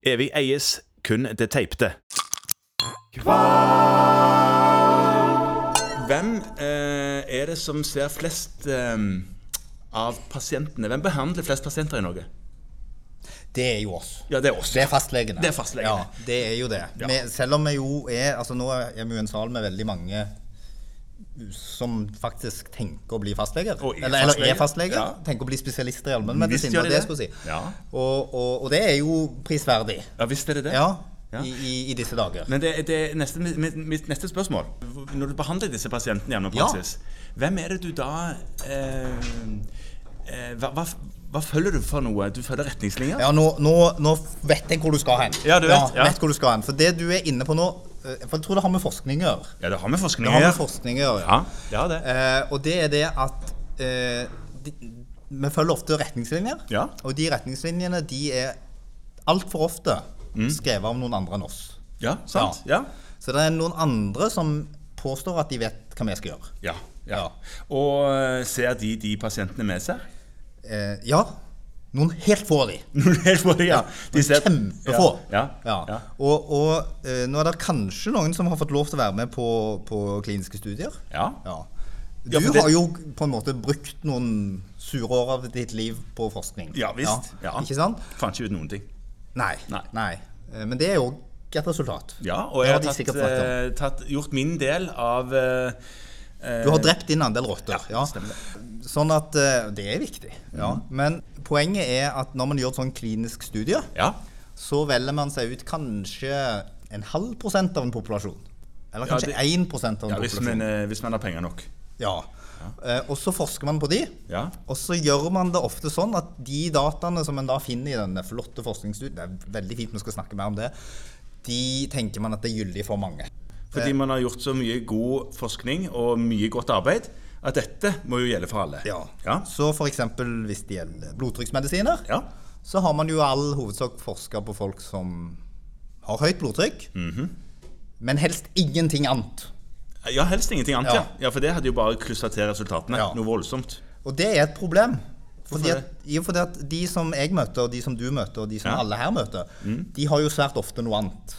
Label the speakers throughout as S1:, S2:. S1: Evig eies kun det teipte. Hvem eh, er det som ser flest eh, av pasientene? Hvem behandler flest pasienter i Norge?
S2: Det er jo oss.
S1: Ja, det er oss.
S2: Det er fastlegene.
S1: Det er fastlegene.
S2: Ja, det er jo det.
S1: Ja.
S2: Vi, selv om vi jo er altså Nå er vi jo en sal med veldig mange som faktisk tenker å bli fastleger.
S1: Og er
S2: eller, eller
S1: fastlege.
S2: er fastleger.
S1: Ja.
S2: Tenker å bli spesialister i
S1: Visst
S2: allmennmedisin.
S1: gjør
S2: det var
S1: de
S2: det jeg skulle
S1: det.
S2: si.
S1: Ja.
S2: Og, og, og det er jo prisverdig.
S1: Ja, visst er det det.
S2: Ja,
S1: Ja.
S2: I, i, i disse dager.
S1: Men det, det er neste, mitt, mitt neste spørsmål. Når du behandler disse pasientene gjennom
S2: Ja.
S1: praksis, hvem er det du da eh, eh, hva, hva, hva følger du for noe? Du følger retningslinjer?
S2: Ja, nå, nå, nå vet jeg hvor du skal hen.
S1: Ja, du vet, ja.
S2: vet hvor du skal hen. For det du er inne på nå eh, For jeg tror det har med forskning å gjøre.
S1: Ja, det har med forskning
S2: Det
S1: å
S2: har med
S1: gjøre.
S2: forskning å gjøre.
S1: Ja, det har det.
S2: Eh, og det er det at eh, de, vi følger ofte retningslinjer.
S1: Ja.
S2: Og de retningslinjene de er altfor ofte skrevet av noen andre enn oss.
S1: Ja, Mm. sant? Ja.
S2: Så det er noen andre som påstår at de vet hva vi skal gjøre.
S1: Ja. ja. Og eh, ser de de pasientene med seg?
S2: Eh, ja. Noen helt få av de.
S1: Helt bare, ja. De ser-
S2: Kjempefå.
S1: Ja. Ja.
S2: Ja.
S1: Ja.
S2: Og, og eh, nå er det kanskje noen som har fått lov til å være med på, på kliniske studier.
S1: Ja.
S2: Ja. Du
S1: Ja, for det-
S2: har jo på en måte brukt noen sure år av ditt liv på forskning.
S1: Ja, visst. Ja.
S2: Ikke sant?
S1: Fant ikke ut noen ting.
S2: Nei.
S1: Nei.
S2: Eh, Men det er jo et resultat.
S1: Ja, og
S2: Det
S1: jeg
S2: har
S1: har
S2: de
S1: tatt,
S2: sikkert snakket om.
S1: eh, tatt, gjort min del av eh, eh,
S2: Du har drept din andel rotter. Ja,
S1: stemmer det. Mm.
S2: Sånn at eh, det er viktig. Ja. Men poenget er at når man gjør et sånn klinisk studie,
S1: Ja.
S2: så velger man seg ut kanskje en halv prosent av en populasjon. Eller
S1: Ja,
S2: kanskje
S1: det-
S2: 1 prosent av en
S1: Ja, hvis,
S2: populasjon.
S1: man, eh, hvis man har penger nok.
S2: Ja. Eh, Og så forsker man på de.
S1: Ja.
S2: Og så gjør man det ofte sånn at de dataene som en da finner i denne flotte forskningsstudien, det er veldig fint vi skal snakke mer om det, de tenker man at det er gyldig for mange. Eh.
S1: Fordi man har gjort så mye god forskning og mye godt arbeid at dette må jo gjelde for alle.
S2: Ja.
S1: Ja.
S2: Så f.eks. hvis det gjelder blodtrykksmedisiner,
S1: Ja.
S2: så har man jo i all hovedsak forska på folk som har høyt blodtrykk,
S1: Mhm.
S2: men helst ingenting annet.
S1: ja, helst ingenting annet, ja.
S2: Ja.
S1: ja. For det hadde jo bare klussa til resultatene.
S2: Ja.
S1: Noe voldsomt.
S2: Og det er et problem. Fordi
S1: det?
S2: at, jo, fordi at de som jeg møter, og de som du møter, og de som
S1: Ja. Mm.
S2: alle her møter, de har jo svært ofte noe annet.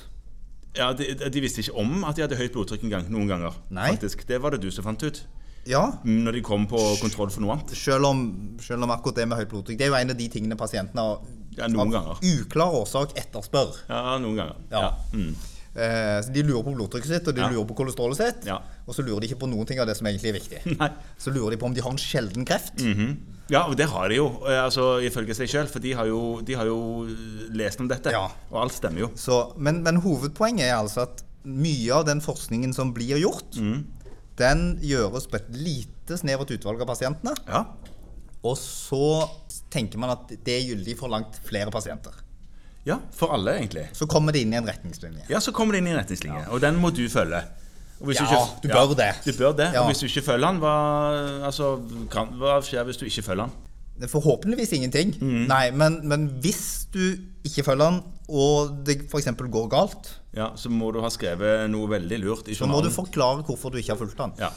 S1: Ja, de, de visste ikke om at de hadde høyt blodtrykk en gang, noen ganger.
S2: Nei.
S1: Faktisk. Det var det du som fant ut.
S2: Ja,
S1: Når de kom på kontroll for noe annet.
S2: selv om, selv om akkurat det med høyt blodtrykk Det er jo en av de tingene pasientene av-
S1: Ja, noen
S2: av
S1: ganger.
S2: uklar årsak etterspør.
S1: Ja, noen ganger.
S2: Ja.
S1: Mm.
S2: Eh, så de lurer på blodtrykket sitt, og de
S1: Ja.
S2: lurer på kolesterolet sitt.
S1: Ja.
S2: Og så lurer de ikke på noen ting av det som egentlig er viktig.
S1: Nei.
S2: Så lurer de på om de har en sjelden kreft.
S1: Ja, og det har de jo, eh, altså, ifølge seg sjøl. For de har, jo, de har jo lest om dette.
S2: Ja.
S1: Og alt stemmer jo.
S2: Så, men, men hovedpoenget er altså at mye av den forskningen som blir gjort, den gjøres på et lite snevert utvalg av pasientene.
S1: Ja.
S2: Og så tenker man at det er gyldig for langt flere pasienter.
S1: ja. For alle, egentlig.
S2: Så kommer det inn i en retningslinje.
S1: Ja, så kommer det inn i en retningslinje, og den må du følge. Og hvis
S2: Ja, du
S1: ja,
S2: bør det.
S1: Du bør det.
S2: Ja.
S1: Og hvis du ikke følger den, hva, altså, kan, hva skjer hvis du ikke følger den?
S2: Det er Forhåpentligvis ingenting. Nei, men, men hvis du ikke følger den, og det f.eks. går galt,
S1: Ja, så må du ha skrevet noe veldig lurt i
S2: så må du
S1: journalen.
S2: forklare hvorfor du ikke har fulgt den.
S1: Ja.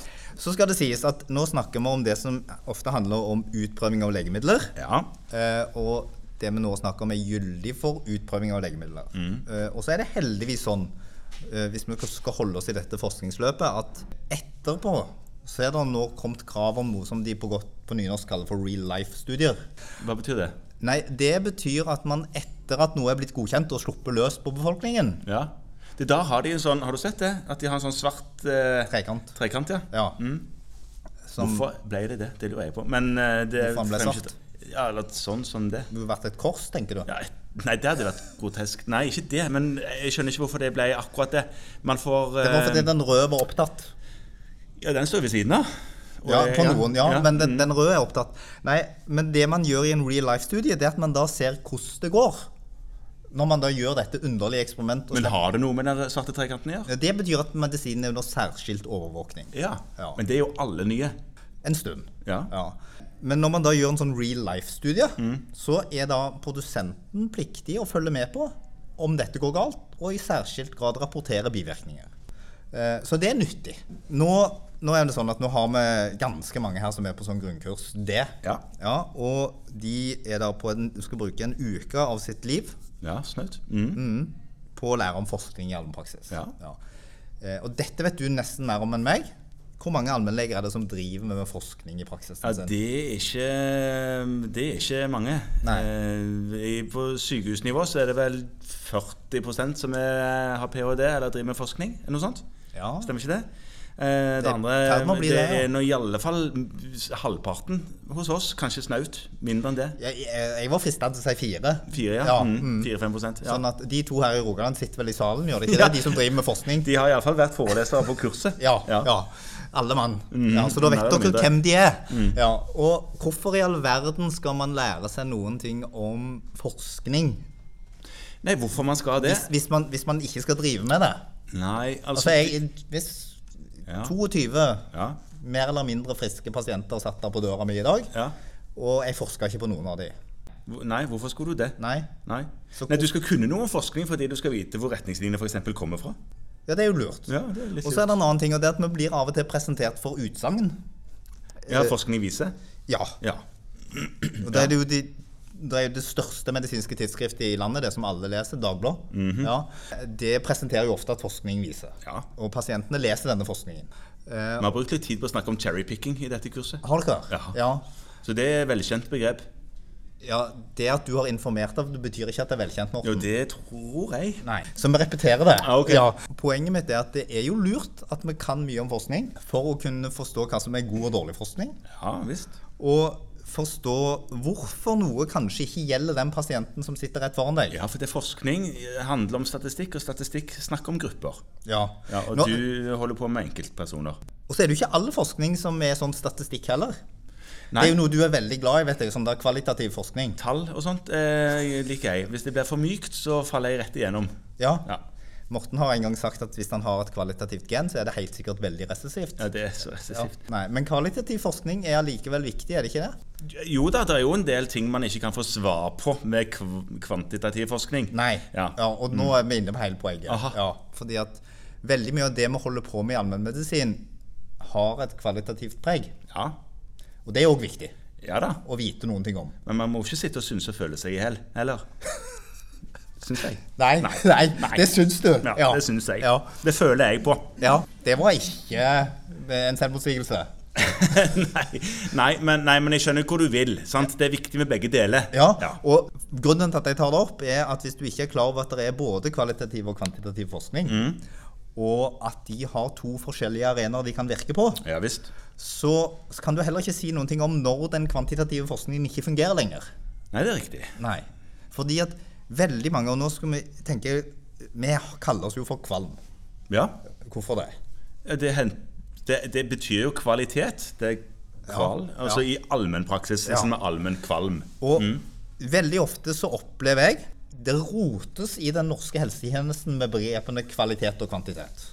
S2: Så skal det sies at nå snakker vi om det som ofte handler om utprøving av legemidler.
S1: Ja,
S2: Eh, og det vi nå snakker om, er gyldig for utprøving av legemidler. Eh, og så er det heldigvis sånn, eh, hvis vi skal holde oss i dette forskningsløpet, at etterpå så er det nå kommet krav om noe som de på, godt, på nynorsk kaller for real life-studier.
S1: hva betyr det?
S2: Nei, det betyr at man etter at noe er blitt godkjent og sluppet løs på befolkningen
S1: Ja. Det, da har de en sånn, har du sett det? At de har en sånn svart eh,
S2: Trekant.
S1: trekant, ja.
S2: Ja. Som
S1: Hvorfor ble det det? Det lurer jeg på. Men eh, det
S2: Hvorfor han ble
S1: fremskjøt-
S2: svart?
S1: Ja, eller sånn som det.
S2: burde vært et kors, tenker du.
S1: Ja, et- nei, det hadde vært grotesk. Nei, ikke det, men jeg skjønner ikke hvorfor det ble akkurat det. Man får
S2: Det var
S1: eh,
S2: fordi den røde var opptatt.
S1: Ja, den står ved siden av. Og
S2: Ja,
S1: jeg-
S2: på noen, ja. Men den,
S1: mm.
S2: den røde er opptatt. Nei, men det man gjør i en real life-studie, det er at man da ser hvordan det går. Når man da gjør dette underlige eksperimentet. og
S1: Men
S2: slipper-
S1: har det noe med den svarte trekanten å gjøre?
S2: Det betyr at medisinen er under særskilt overvåkning.
S1: Ja.
S2: Ja.
S1: Men det er jo alle nye.
S2: En stund.
S1: Ja.
S2: Men når man da gjør en sånn real life-studie,
S1: Mm.
S2: så er da produsenten pliktig å følge med på om dette går galt, og i særskilt grad rapportere bivirkninger. Eh, Så det er nyttig. Nå, nå er det sånn at nå har vi ganske mange her som er på sånn grunnkurs D.
S1: Ja.
S2: og de er da på en, skal bruke en uke av sitt liv
S1: Ja, snaut. Mm.
S2: på å lære om forskning i allmennpraksis.
S1: Ja.
S2: Eh, Og dette vet du nesten mer om enn meg. Hvor mange allmennleger er det som driver med forskning i Altså, praksisen
S1: Ja,
S2: sin?
S1: det er ikke Det er ikke mange.
S2: Nei.
S1: Eh, i- På sykehusnivå så er det vel 40 som er, har ph.d. eller driver med forskning. eller Noe sånt.
S2: Ja.
S1: Stemmer ikke det? Eh,
S2: Det
S1: det
S2: er i ferd med
S1: andre
S2: å bli
S1: det,
S2: det, ja.
S1: er nå i alle fall halvparten hos oss. Kanskje snaut. Mindre enn det.
S2: Jeg, jeg jeg var frista til å si fire.
S1: Fire, ja.
S2: Ja,
S1: Mm, 4-5 prosent, ja.
S2: Sånn at de to her i Rogaland sitter vel i salen, gjør de ikke
S1: Ja.
S2: det? De som driver med forskning.
S1: De har iallfall vært forelesere på kurset.
S2: Ja, ja. Alle mann. Ja, så da vet
S1: Nei, Mm. det Mm. er
S2: dere
S1: mindre.
S2: hvem de er. Ja, og hvorfor i all verden skal man lære seg noen ting om forskning
S1: Nei, hvorfor man skal det?
S2: hvis, hvis, man, hvis man ikke skal drive med det?
S1: Nei, altså,
S2: Altså, jeg, hvis
S1: Ja.
S2: 22
S1: Ja.
S2: mer eller mindre friske pasienter satt der på døra mi i dag,
S1: Ja.
S2: og jeg forska ikke på noen av de.
S1: Hvor- Nei, hvorfor skulle du det?
S2: Nei.
S1: Nei.
S2: Så-
S1: Nei, Du skal kunne noe om forskning fordi du skal vite hvor retningslinjer for eksempel kommer fra.
S2: Ja, det er jo lurt.
S1: Ja, det er litt
S2: Og så er det en annen ting, og det er at vi blir av og til presentert for utsagn.
S1: Ja, forskning viser.
S2: Ja.
S1: Ja.
S2: Og det er det jo de det er jo det største medisinske tidsskriftet i landet, det som alle leser, Dagbladet. ja. Det presenterer jo ofte at forskning viser.
S1: Mhm. Ja.
S2: Og pasientene leser denne forskningen. Eh,
S1: Vi har brukt litt tid på å snakke om cherrypicking i dette kurset.
S2: har dere?
S1: Ja.
S2: ja.
S1: Så det er et velkjent begrep.
S2: Ja, Det at du har informert av, det betyr ikke at det er velkjent. Morten.
S1: Jo, det tror jeg.
S2: Nei. Så vi repeterer det.
S1: Ja, ok.
S2: Poenget mitt er at det er jo lurt at vi kan mye om forskning for å kunne forstå hva som er god og dårlig forskning,
S1: Ja visst.
S2: og forstå hvorfor noe kanskje ikke gjelder den pasienten som sitter rett foran deg.
S1: Ja, for det er forskning eh, handler om statistikk, og statistikk snakker om grupper.
S2: Ja.
S1: Ja, og
S2: Nå,
S1: du holder på med enkeltpersoner.
S2: og så er det jo ikke all forskning som er sånn statistikk heller. Det
S1: Nei,
S2: er jo noe du er veldig glad i, vet jeg, sånn der kvalitativ forskning.
S1: tall og sånt eh, liker jeg. Hvis det blir for mykt, så faller jeg rett igjennom.
S2: Ja.
S1: Ja,
S2: Morten har en gang sagt at hvis han har et kvalitativt gen, så er det helt sikkert veldig resessivt.
S1: ja det er så
S2: Ja.
S1: resessivt.
S2: Nei, men kvalitativ forskning er allikevel viktig, er det ikke det?
S1: Jo da, det er jo en del ting man ikke kan få svar på med kv kvantitativ forskning.
S2: Nei. Ja.
S1: Ja. Mm.
S2: og nå er vi inne på hele poenget.
S1: Aha.
S2: Ja, fordi at veldig mye av det vi holder på med i allmennmedisin, har et kvalitativt preg.
S1: Ja,
S2: Og det er òg viktig
S1: ja da.
S2: å vite noen ting om.
S1: Men man må ikke sitte og synse og føle seg i hel, heller. Syns jeg.
S2: Nei, nei, det syns du.
S1: Ja, Det syns jeg.
S2: Ja.
S1: Det føler jeg på.
S2: ja. Det var ikke en selvmotsigelse.
S1: nei, nei, men, nei, men jeg skjønner hvor du vil. sant? Det er viktig med begge deler.
S2: Ja. Og grunnen til at jeg tar det opp, er at hvis du ikke er klar over at det er både kvalitativ og kvantitativ forskning,
S1: Mm.
S2: og at de har to forskjellige arenaer de kan virke på,
S1: Ja visst.
S2: så kan du heller ikke si noen ting om når den kvantitative forskningen ikke fungerer lenger.
S1: Nei, det er riktig.
S2: Nei. Fordi at veldig mange, og nå skal vi tenke Vi kaller oss jo for kvalm.
S1: Ja.
S2: Hvorfor det?
S1: Det, hen- det, det betyr jo kvalitet. Det er kval.
S2: Ja,
S1: Altså
S2: ja.
S1: i allmennpraksis.
S2: Ja.
S1: Liksom med allmenn kvalm.
S2: Og
S1: Mm.
S2: veldig ofte så opplever jeg det rotes i den norske helsetjenesten med begrepene kvalitet og kvantitet.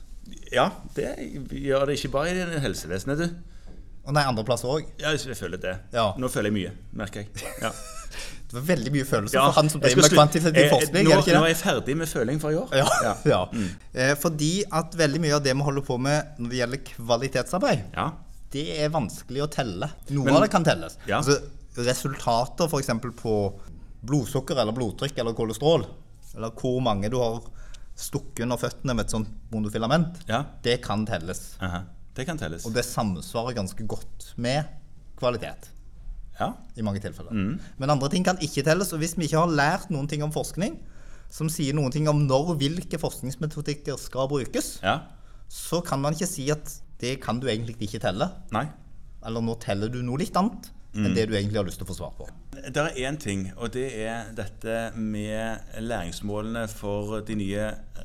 S1: Ja, det gjør det ikke bare i helsevesenet, du.
S2: Og nei, andre plasser òg.
S1: Ja, jeg føler det.
S2: Ja.
S1: Nå føler jeg mye, merker jeg. Ja.
S2: Det var veldig mye følelser
S1: Ja,
S2: for han som
S1: jeg skal
S2: driver med
S1: slutte.
S2: kvantitativ
S1: Eh,
S2: forskning.
S1: Nå,
S2: er det ikke det?
S1: nå er jeg ferdig med føling for i år.
S2: Ja,
S1: Ja. Mm.
S2: ja. Eh, Fordi at veldig mye av det vi holder på med når det gjelder kvalitetsarbeid,
S1: Ja.
S2: det er vanskelig å telle. Noe
S1: Men-
S2: av det kan telles.
S1: Ja.
S2: Altså, resultater f.eks. på blodsukker eller blodtrykk eller kolesterol, eller hvor mange du har stukket under føttene med et sånt monofilament,
S1: Ja.
S2: det kan telles.
S1: Aha. Det kan telles.
S2: Og det samsvarer ganske godt med kvalitet.
S1: Ja.
S2: I mange tilfeller.
S1: Mm.
S2: Men andre ting kan ikke telles. Og hvis vi ikke har lært noen ting om forskning, som sier noen ting om når hvilke forskningsmetodikker skal brukes,
S1: ja.
S2: så kan man ikke si at det kan du egentlig ikke telle.
S1: Nei.
S2: Eller nå teller du noe litt annet
S1: Mm.
S2: enn det du egentlig har lyst til å få svar på.
S1: Det er én ting, og det er dette med læringsmålene for de nye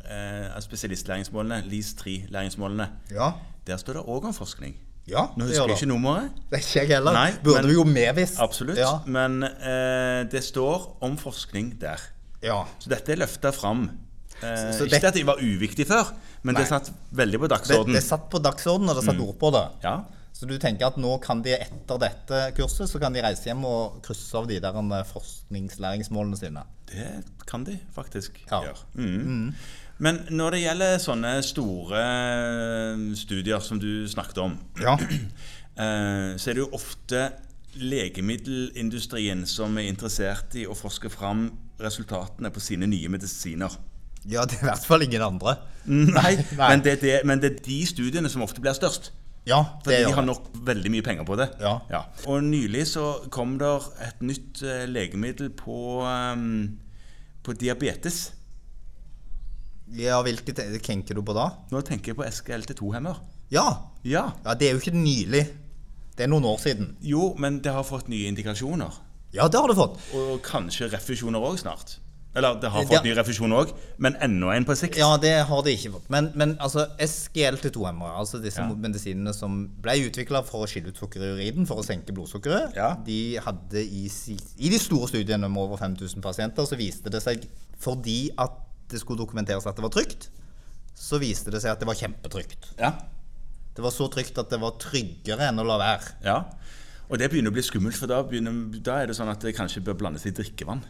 S1: eh, spesialistlæringsmålene, LIS3-læringsmålene.
S2: Ja.
S1: Der står det òg om forskning.
S2: ja
S1: Nå husker
S2: det gjør
S1: jeg ikke
S2: det.
S1: nummeret.
S2: Det er ikke jeg heller.
S1: Nei,
S2: Burde
S1: men-
S2: vi jo med visst.
S1: Absolutt.
S2: Ja.
S1: Men eh, det står om forskning der.
S2: ja.
S1: Så dette er løfta fram. Eh,
S2: Så- så det-
S1: ikke at de var uviktig før, men det
S2: Nei.
S1: satt veldig på
S2: Det,
S1: dagsordenen.
S2: det satt på dagsordenen, og det satt ord på det.
S1: Sånn. Mm. Ja.
S2: Så du tenker at nå kan de etter dette kurset så kan de reise hjem og krysse av de der eh, forskningslæringsmålene sine?
S1: Det kan de faktisk
S2: Ja.
S1: gjøre. Mm. Men når det gjelder sånne store eh, studier som du snakket om,
S2: Ja.
S1: eh, så er det jo ofte legemiddelindustrien som er interessert i å forske fram resultatene på sine nye medisiner.
S2: Ja, det er i hvert fall ingen andre.
S1: Nei,
S2: Nei.
S1: Men, det, er det, men det er de studiene som ofte blir størst.
S2: Ja, det
S1: Fordi de
S2: gjør
S1: har
S2: det.
S1: nok veldig mye penger på det.
S2: Ja.
S1: Og nylig så kom der et nytt eh, legemiddel på, ehm, på diabetes.
S2: Ja, hvilket tenker du på da?
S1: Nå tenker jeg på SGLT2-hemmer.
S2: Ja.
S1: Ja.
S2: ja, det er jo ikke nylig. Det er noen år siden.
S1: Jo, men det har fått nye indikasjoner.
S2: Ja, det har du fått.
S1: Og kanskje refusjoner òg snart. Eller det har fått
S2: Det-
S1: nye refusjoner òg, men enda en på sikt.
S2: Ja, det har de ikke fått. Men, men altså, SGLT2-hemmere, altså disse
S1: Ja.
S2: medisinene som ble utvikla for å skille ut sukker i urinen for å senke blodsukkeret,
S1: Ja.
S2: de hadde i, si- i de store studiene med over 5000 pasienter, så viste det seg, fordi at det skulle dokumenteres at det var trygt, så viste det seg at det var kjempetrygt.
S1: Ja.
S2: Det var så trygt at det var tryggere enn å la være.
S1: ja. Og det begynner å bli skummelt, for da, begynner, da er det sånn at det kanskje bør blandes i drikkevann.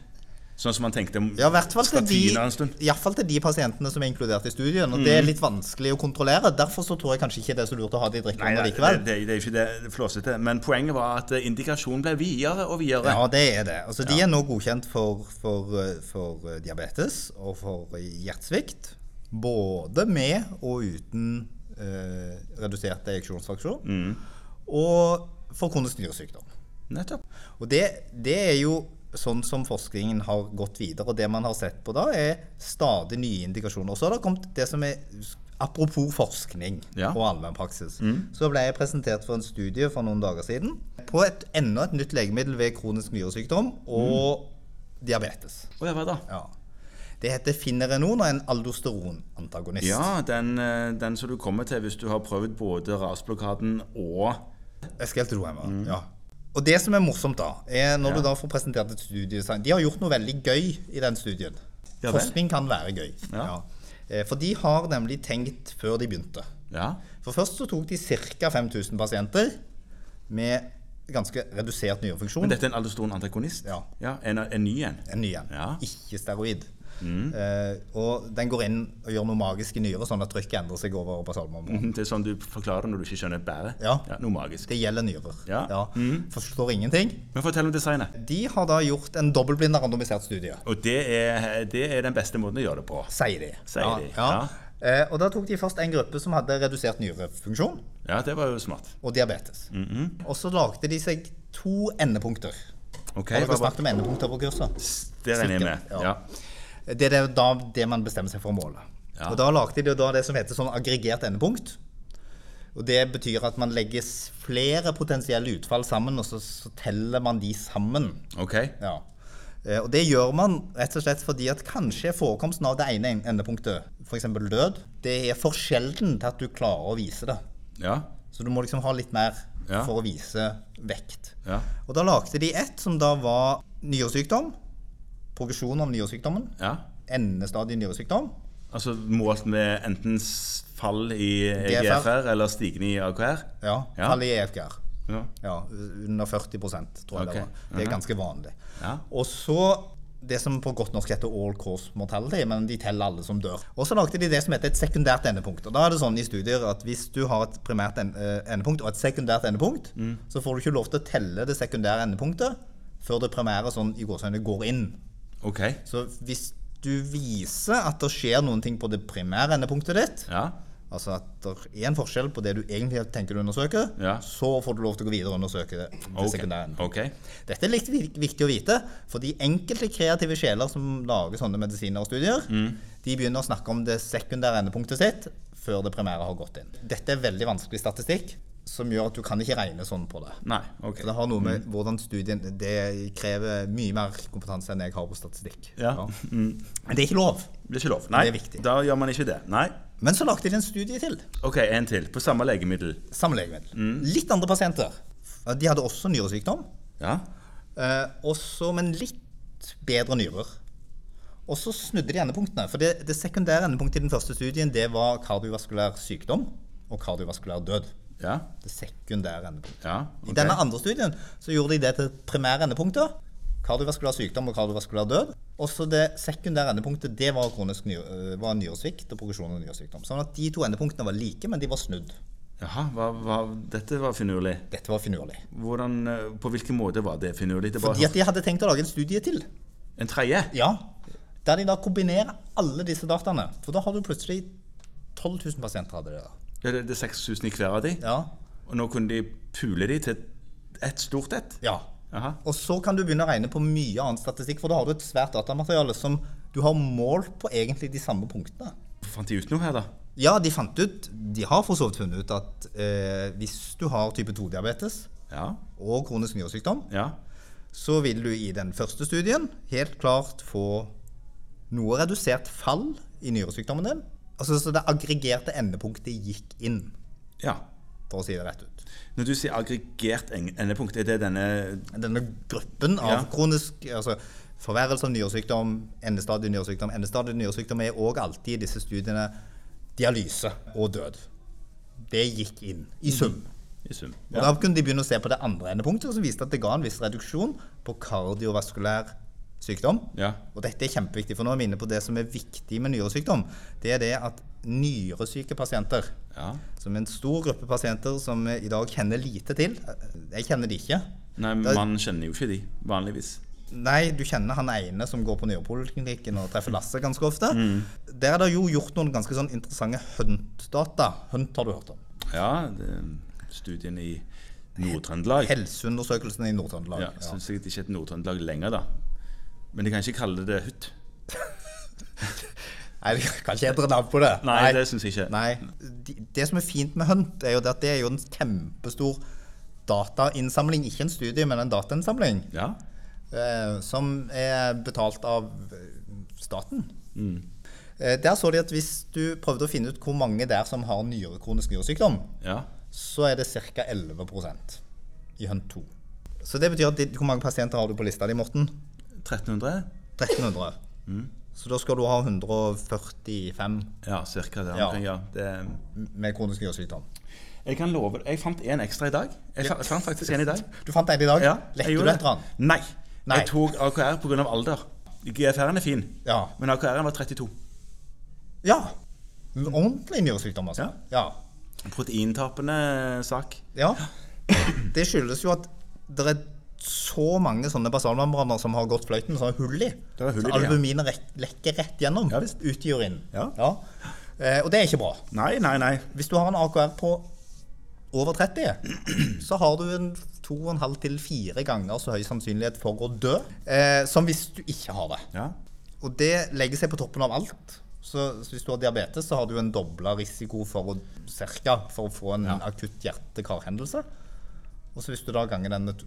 S1: Sånn som man tenkte om
S2: Ja, i hvert fall til de,
S1: statina en stund. Mm.
S2: i hvert fall til de pasientene som er inkludert i studien. Og det er litt vanskelig å kontrollere. Derfor så tror jeg kanskje ikke det er så lurt å ha det i
S1: Nei, nei,
S2: drikkevannet
S1: det,
S2: likevel.
S1: det, det er ikke det det flåsete. Men poenget var at eh, indikasjonen ble videre og videre.
S2: Ja, det er det. Altså, De er nå godkjent for, for, eh, for eh, diabetes og for hjertesvikt. Både med og uten eh, redusert ejeksjonsfraksjon. Og for kronisk nyresykdom.
S1: Nettopp.
S2: Og det, det er jo sånn som forskningen har gått videre, og det man har sett på da, er stadig nye indikasjoner. Og så har det kommet det som er Apropos forskning
S1: Ja. Mm.
S2: og allmennpraksis, så ble jeg presentert for en studie for noen dager siden på et, enda et nytt legemiddel ved kronisk nyresykdom
S1: Mm.
S2: og diabetes.
S1: Og ja, hva da?
S2: Ja. Det heter finerenon og er en aldosteronantagonist.
S1: Ja, den, eh, den som du kommer til hvis du har prøvd både rasblokaden og
S2: SGLT2-MR. Ja. Og det som er morsomt, da, er når
S1: Mm. Ja.
S2: du da får presentert et studie så- De har gjort noe veldig gøy i den studien.
S1: Ja vel.
S2: Forskning kan være gøy.
S1: Ja.
S2: Eh, For de har nemlig tenkt før de begynte.
S1: Ja.
S2: For først så tok de ca. 5000 pasienter med ganske redusert
S1: Men
S2: nyrefunksjon.
S1: dette er en aldosteron antagonist?
S2: Ja.
S1: en, en ny en?
S2: En ny en.
S1: Ja. Mm.
S2: Ikke steroid. Eh, og den går inn og gjør noe magisk i nyret, sånn at trykket endrer seg over basalmembranen.
S1: Det er sånn du forklarer når du ikke skjønner bæret?
S2: Mm. Ja.
S1: Noe magisk.
S2: Det gjelder nyrer.
S1: Ja. Mm.
S2: Forstår ingenting.
S1: Men fortell om designet.
S2: De har da gjort en dobbeltblind randomisert studie,
S1: Og det er, det er den beste måten å gjøre det på.
S2: sier de.
S1: Sier
S2: ja,
S1: de,
S2: Ja. Eh, og Da tok de først en gruppe som hadde redusert nyrefunksjon
S1: Ja, det var jo smart.
S2: og diabetes.
S1: Mhm.
S2: Og så lagde de seg to endepunkter.
S1: Ok,
S2: Har
S1: hva-
S2: dere snakket om endepunkter på kurset?
S1: Det regner jeg med.
S2: Sikkert, ja.
S1: Ja.
S2: Det er det- da det man bestemmer seg for å måle.
S1: Ja.
S2: Og Da lagde de da det som heter sånn aggregert endepunkt. Og Det betyr at man legger s- flere potensielle utfall sammen, og så, så teller man de sammen.
S1: Ok.
S2: Ja. Eh, Og det gjør man rett og slett fordi at kanskje forekomsten av det ene en- endepunktet, f.eks. død, det er for sjelden til at du klarer å vise det.
S1: Ja.
S2: Så du må liksom ha litt mer
S1: Ja.
S2: for å vise vekt.
S1: Ja.
S2: Og da lagde de ett som da var nyresykdom, progresjon av nyresykdommen,
S1: ja.
S2: endestadie nyresykdom,
S1: Altså målt med enten s- fall i
S2: GFR.
S1: GFR eller stigning i AKR?
S2: ja,
S1: Ja.
S2: fall i E EFGR.
S1: Ja.
S2: Ja, under 40 tror jeg
S1: Ok,
S2: det var. Det er
S1: mhm.
S2: ganske vanlig.
S1: Ja.
S2: Og så det som på godt norsk heter all cause mortality, men de teller alle som dør. Og så lagde de det som heter et sekundært endepunkt. Og da er det sånn i studier at hvis du har et primært en- eh, endepunkt og et sekundært endepunkt,
S1: Mm.
S2: så får du ikke lov til å telle det sekundære endepunktet før det primære sånn i gåsehøyne går inn.
S1: Ok.
S2: Så hvis du viser at det skjer noen ting på det primære endepunktet ditt,
S1: Ja.
S2: Altså at det er en forskjell på det du egentlig tenker du undersøker,
S1: Ja.
S2: så får du lov til å gå videre og undersøke det. det
S1: Ok.
S2: sekundære.
S1: ok.
S2: Dette er litt vik- viktig å vite, for de enkelte kreative sjeler som lager sånne medisiner og studier, de begynner å snakke om det sekundære endepunktet sitt før det primære har gått inn. Dette er veldig vanskelig statistikk, som gjør at du kan ikke regne sånn på det.
S1: Nei. ok.
S2: Så Det har noe med hvordan studien Det krever mye mer kompetanse enn jeg har på statistikk.
S1: Ja.
S2: Men det er ikke lov.
S1: Det er ikke lov. Nei,
S2: Det er viktig.
S1: da gjør man ikke det. Nei.
S2: Men så lagde de en studie til.
S1: Ok, en til. På samme legemiddel.
S2: Samme legemiddel. Litt andre pasienter. De hadde også nyresykdom,
S1: Ja.
S2: eh, også, men litt bedre nyrer. Og så snudde de endepunktene. For det, det sekundære endepunktet i den første studien det var kardiovaskulær sykdom og kardiovaskulær død.
S1: Ja.
S2: Det sekundære endepunktet.
S1: Ja.
S2: I
S1: ok.
S2: denne andre studien så gjorde de det til primære endepunktet. Kardiovaskulær sykdom og kardiovaskulær død. Også det sekundære endepunktet det var, kronisk ny, øh, var nyresvikt og progresjon av nyresykdom. Sånn at de to endepunktene var like, men de var snudd.
S1: Jaha, hva, hva, dette var finurlig.
S2: Dette var finurlig.
S1: Hvordan, eh, på hvilken måte var det finurlig? Det var-
S2: Fordi at de hadde tenkt å lage en studie til.
S1: En tredje?
S2: Ja, Der de da kombinerer alle disse dataene. For da har du plutselig 12 000 pasienter. Hadde det da.
S1: Ja, det det er 6000 i hver av de.
S2: Ja.
S1: Og nå kunne de pule de til ett stort ett?
S2: ja.
S1: Jaha.
S2: Og så kan du begynne å regne på mye annen statistikk, for da har du et svært datamateriale som du har målt på egentlig de samme punktene.
S1: Fant de ut noe her, da?
S2: Ja, de fant ut, de har for så vidt funnet ut at eh, hvis du har type 2-diabetes
S1: Ja.
S2: og kronisk nyresykdom,
S1: ja.
S2: så vil du i den første studien helt klart få noe redusert fall i nyresykdommen din. Altså, så det aggregerte endepunktet gikk inn,
S1: Ja.
S2: for å si det rett ut.
S1: Når du sier aggregert eng- endepunkt, er det denne
S2: Denne gruppen av
S1: Ja.
S2: kronisk altså, forverrelse av nyresykdom, endestadie nyresykdom, endestadie nyresykdom er òg alltid i disse studiene dialyse og død. Det gikk inn, i sum.
S1: i sum?
S2: Og Da kunne de begynne å se på det andre endepunktet, som viste at det ga en viss reduksjon på kardiovaskulær sykdom.
S1: Ja.
S2: Og dette er kjempeviktig, for nå er vi inne på det som er viktig med nyresykdom. Det er det at nyresyke pasienter,
S1: ja.
S2: som er en stor gruppe pasienter som vi i dag kjenner lite til eh, Jeg kjenner de ikke.
S1: Nei,
S2: Da-
S1: man kjenner jo ikke de, vanligvis.
S2: Nei, du kjenner han ene som går på nyrepoliklinikken og treffer Lasse ganske ofte.
S1: Mm.
S2: Der er det jo gjort noen ganske sånn interessante Hunt-data. Hunt har du hørt om.
S1: Ja, det, studien i Nord-Trøndelag.
S2: Helseundersøkelsen i Nord-Trøndelag.
S1: Ja,
S2: Ja.
S1: Syns jeg det ikke heter Nord-Trøndelag lenger, da. Men de kan ikke kalle det hutt.
S2: Nei, det kan ikke hete navn på det.
S1: Nei, det syns jeg ikke.
S2: Nei. De, det som er fint med Hunt, er jo det at det er jo en kjempestor datainnsamling. Ikke en studie, men en datainnsamling.
S1: Ja.
S2: Eh, som er betalt av eh, staten.
S1: Mm.
S2: Eh, der så de at hvis du prøvde å finne ut hvor mange der som har nyere kronisk nyresykdom,
S1: ja.
S2: så er det ca. 11 i Hunt 2. Så det betyr at de, hvor mange pasienter har du på lista di, Morten?
S1: 1300?
S2: 1300.
S1: Mm.
S2: Så da skal du ha 145
S1: Ja, cirka der
S2: Ja.
S1: omkring. Ja. Det,
S2: med kronisk nyresykdom.
S1: jeg kan love Jeg fant en ekstra i dag. Jeg fa- fant faktisk en i dag.
S2: Du fant en i dag.
S1: Ja, jeg
S2: Lette du
S1: gjorde
S2: etter den?
S1: det. Nei.
S2: Nei.
S1: Jeg tok AKR pga. alder. GFR-en er fin,
S2: Ja.
S1: men AKR-en var 32.
S2: ja. En Ordentlig nyresykdom, altså. Ja.
S1: Proteintapende sak.
S2: ja. Det skyldes jo at det er så mange sånne basalmembraner som har gått fløyten, som har hull i.
S1: Det er hull i
S2: så
S1: det, ja.
S2: albuminet rek- lekker rett gjennom
S1: Ja, visst.
S2: ut i urinen.
S1: Ja.
S2: Eh, og det er ikke bra.
S1: Nei, nei, nei.
S2: Hvis du har en AKR på over 30, så har du en 2,5 til 4 ganger så høy sannsynlighet for å dø eh, som hvis du ikke har det.
S1: Ja.
S2: Og det legger seg på toppen av alt. Så, så hvis du har diabetes, så har du en dobla risiko for å, cirka, for å få en akutt hjerte-karhendelse. Og så hvis du da ganger den med to-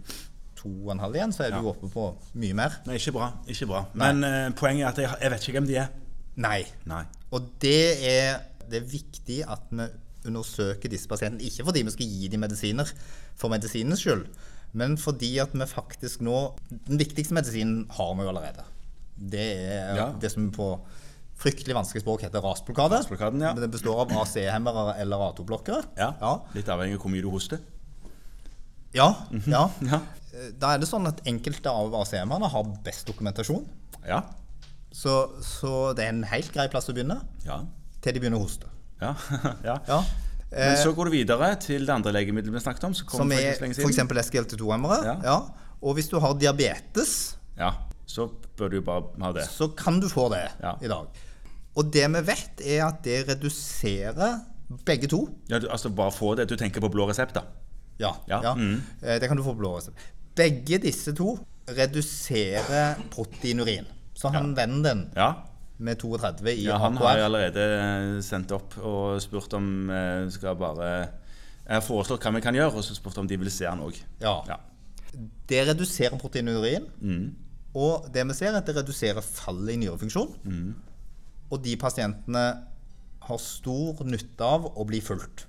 S2: to og en halv igjen, så er du oppe på mye mer.
S1: Nei, ikke bra. Ikke bra. Men eh, poenget er at jeg, har- jeg vet ikke hvem de er.
S2: Nei.
S1: Nei.
S2: Og det er, det er viktig at vi undersøker disse pasientene. Ikke fordi vi skal gi dem medisiner for medisinens skyld, men fordi at vi faktisk nå Den viktigste medisinen har vi jo allerede. Det er
S1: Ja.
S2: det som på fryktelig vanskelig språk heter rasblokade.
S1: Rasblokaden, ja.
S2: Men Det består av AC-hemmere eller A2-blokkere.
S1: Ja.
S2: Ja.
S1: Litt avhengig av hvor mye du hoster.
S2: Ja, ja.
S1: Ja.
S2: Da er det sånn at enkelte av AC-hemmerne har best dokumentasjon.
S1: Ja.
S2: Så, så det er en helt grei plass å begynne
S1: Ja.
S2: til de begynner å hoste.
S1: ja. ja.
S2: Ja.
S1: Men så går du videre til det andre legemiddelet vi snakket om. Som kom
S2: Som er
S1: faktisk lenge
S2: f.eks.
S1: siden.
S2: SGLT2-hemmere.
S1: Ja.
S2: Ja. Og hvis du har diabetes,
S1: Ja, så bør du jo bare ha det.
S2: så kan du få det
S1: Ja.
S2: i dag. Og det vi vet, er at det reduserer begge to.
S1: Ja, du, altså bare få det. Du tenker på blå resept, da.
S2: Ja.
S1: Ja, mhm.
S2: Eh, Det kan du få på blå resept. Begge disse to reduserer proteinurin. Så han vennen din
S1: Ja.
S2: med 32 i
S1: ja han
S2: AKR
S1: har jeg allerede eh, sendt opp og spurt om eh, skal bare Jeg har foreslått hva vi kan gjøre, og så spurt om de vil se han òg.
S2: ja.
S1: Ja.
S2: Det reduserer proteinurin.
S1: Mm.
S2: Og det vi ser, er at det reduserer fallet i nyrefunksjon.
S1: Mm.
S2: Og de pasientene har stor nytte av å bli fulgt.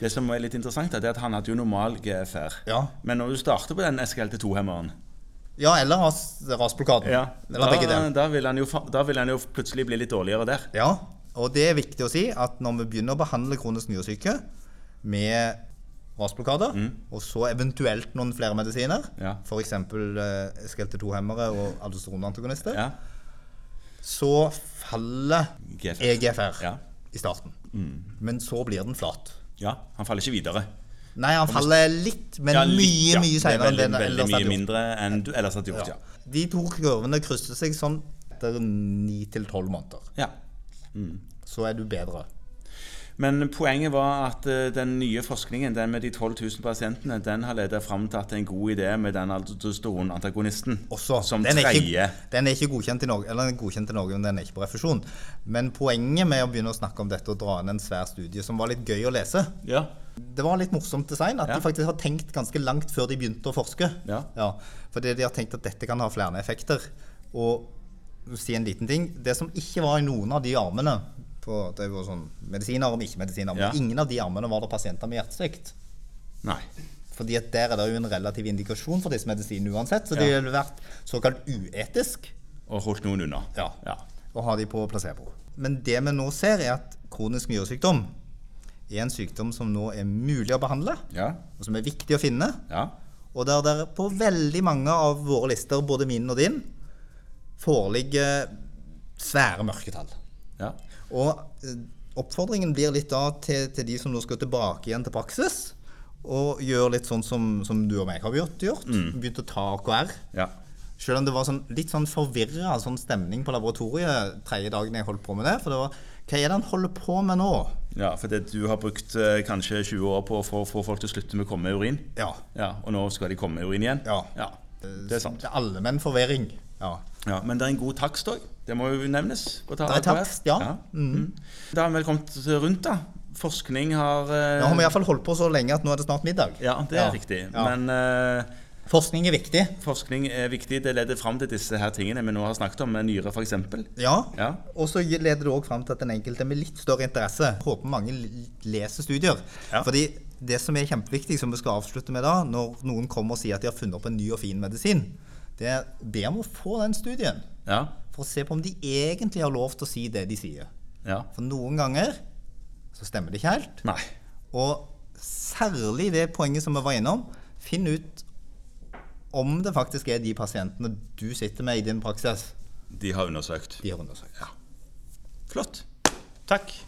S1: Det som er litt interessant, er at han hadde jo normal GFR.
S2: Ja.
S1: Men når du starter på den SKLT2-hemmeren,
S2: Ja, eller ras- rasblokaden.
S1: ja,
S2: Eller begge
S1: da,
S2: deler.
S1: da, vil han jo, fa- da vil han jo plutselig bli litt dårligere der.
S2: Ja, og det er viktig å si at når vi begynner å behandle kronisk nyresyke med rasblokade, og så eventuelt noen flere medisiner,
S1: Mm. Ja.
S2: f.eks. Eh, SGLT2-hemmere og aldosteronantagonister,
S1: Ja.
S2: så faller E
S1: GFR.
S2: EGFR
S1: Ja.
S2: i starten. Men så blir den flat.
S1: ja. Han faller ikke videre.
S2: Nei, han faller litt, men
S1: Ja, litt,
S2: mye
S1: ja.
S2: mye
S1: Det er
S2: seinere enn det
S1: Veldig, veldig
S2: ellers
S1: mye
S2: hadde gjort.
S1: mindre enn du ellers hadde gjort,
S2: Ja.
S1: ja.
S2: De to kurvene krysser seg sånn etter ni til tolv måneder.
S1: ja.
S2: Så er du bedre.
S1: Men poenget var at eh, den nye forskningen, den med de 12 000 pasientene, den har ledet fram til at det er en god idé med den aldosteronantagonisten
S2: Også,
S1: som
S2: den, er ikke,
S1: tredje.
S2: den er ikke godkjent i Norge, eller den er godkjent i Norge, men den er ikke på refusjon. Men poenget med å begynne å snakke om dette og dra inn en svær studie som var litt gøy å lese,
S1: Ja.
S2: det var litt morsomt design at
S1: Ja.
S2: de faktisk har tenkt ganske langt før de begynte å forske.
S1: Ja.
S2: fordi de har tenkt at dette kan ha flere effekter. Og si en liten ting. Det som ikke var i noen av de armene på, Det var sånn medisiner om ikke-medisiner. men
S1: Ja.
S2: Ingen av de armene var det pasienter med hjertesvikt.
S1: Nei.
S2: Fordi at der er det jo en relativ indikasjon for disse medisinene uansett. Så det
S1: Ja.
S2: ville vært såkalt uetisk
S1: Og holdt noen unna.
S2: Ja. å ha de på placebo. Men det vi nå ser, er at kronisk nyresykdom er en sykdom som nå er mulig å behandle,
S1: Ja.
S2: og som er viktig å finne.
S1: ja.
S2: Og der det på veldig mange av våre lister, både min og din, foreligger svære mørketall.
S1: ja.
S2: Og eh, oppfordringen blir litt da til, til de som nå skal tilbake igjen til praksis, og gjøre litt sånn som, som du og meg har gjort. gjort.
S1: Mm.
S2: Begynt å ta AKR.
S1: ja.
S2: Selv om det var sånn, litt sånn forvirra sånn stemning på laboratoriet tredje dagen jeg holdt på med det. For det var Hva er det han holder på med nå?
S1: Ja, for det, du har brukt eh, kanskje 20 år på å få, få folk til å slutte med å komme med urin.
S2: Ja.
S1: Ja, Og nå skal de komme med urin igjen?
S2: Ja.
S1: Det er sant.
S2: Det er allmenn forvirring. Ja.
S1: Ja, Men det er en god takst òg. Det må jo nevnes. på
S2: Det er
S1: Taraldberg.
S2: takst, ja.
S1: Mm. Da har vi vel kommet rundt, da. Forskning har eh,
S2: Nå har vi iallfall holdt på så lenge at nå er det snart middag.
S1: Ja, det er riktig.
S2: Ja.
S1: Men eh,
S2: Forskning er viktig.
S1: forskning er viktig. Det leder fram til disse her tingene vi nå har snakket om, med nyre f.eks.
S2: Ja.
S1: Ja.
S2: Og så leder det òg fram til at den enkelte med litt større interesse håper mange l- leser studier.
S1: Ja.
S2: Fordi det som er kjempeviktig, som vi skal avslutte med da, når noen kommer og sier at de har funnet opp en ny og fin medisin, det er be om å få den studien.
S1: Ja.
S2: For å se på om de egentlig har lov til å si det de sier.
S1: ja.
S2: For noen ganger så stemmer det ikke helt.
S1: Nei.
S2: Og særlig det poenget som vi var innom. Finn ut om det faktisk er de pasientene du sitter med i din praksis,
S1: De har undersøkt.
S2: de har undersøkt.
S1: Flott. Takk.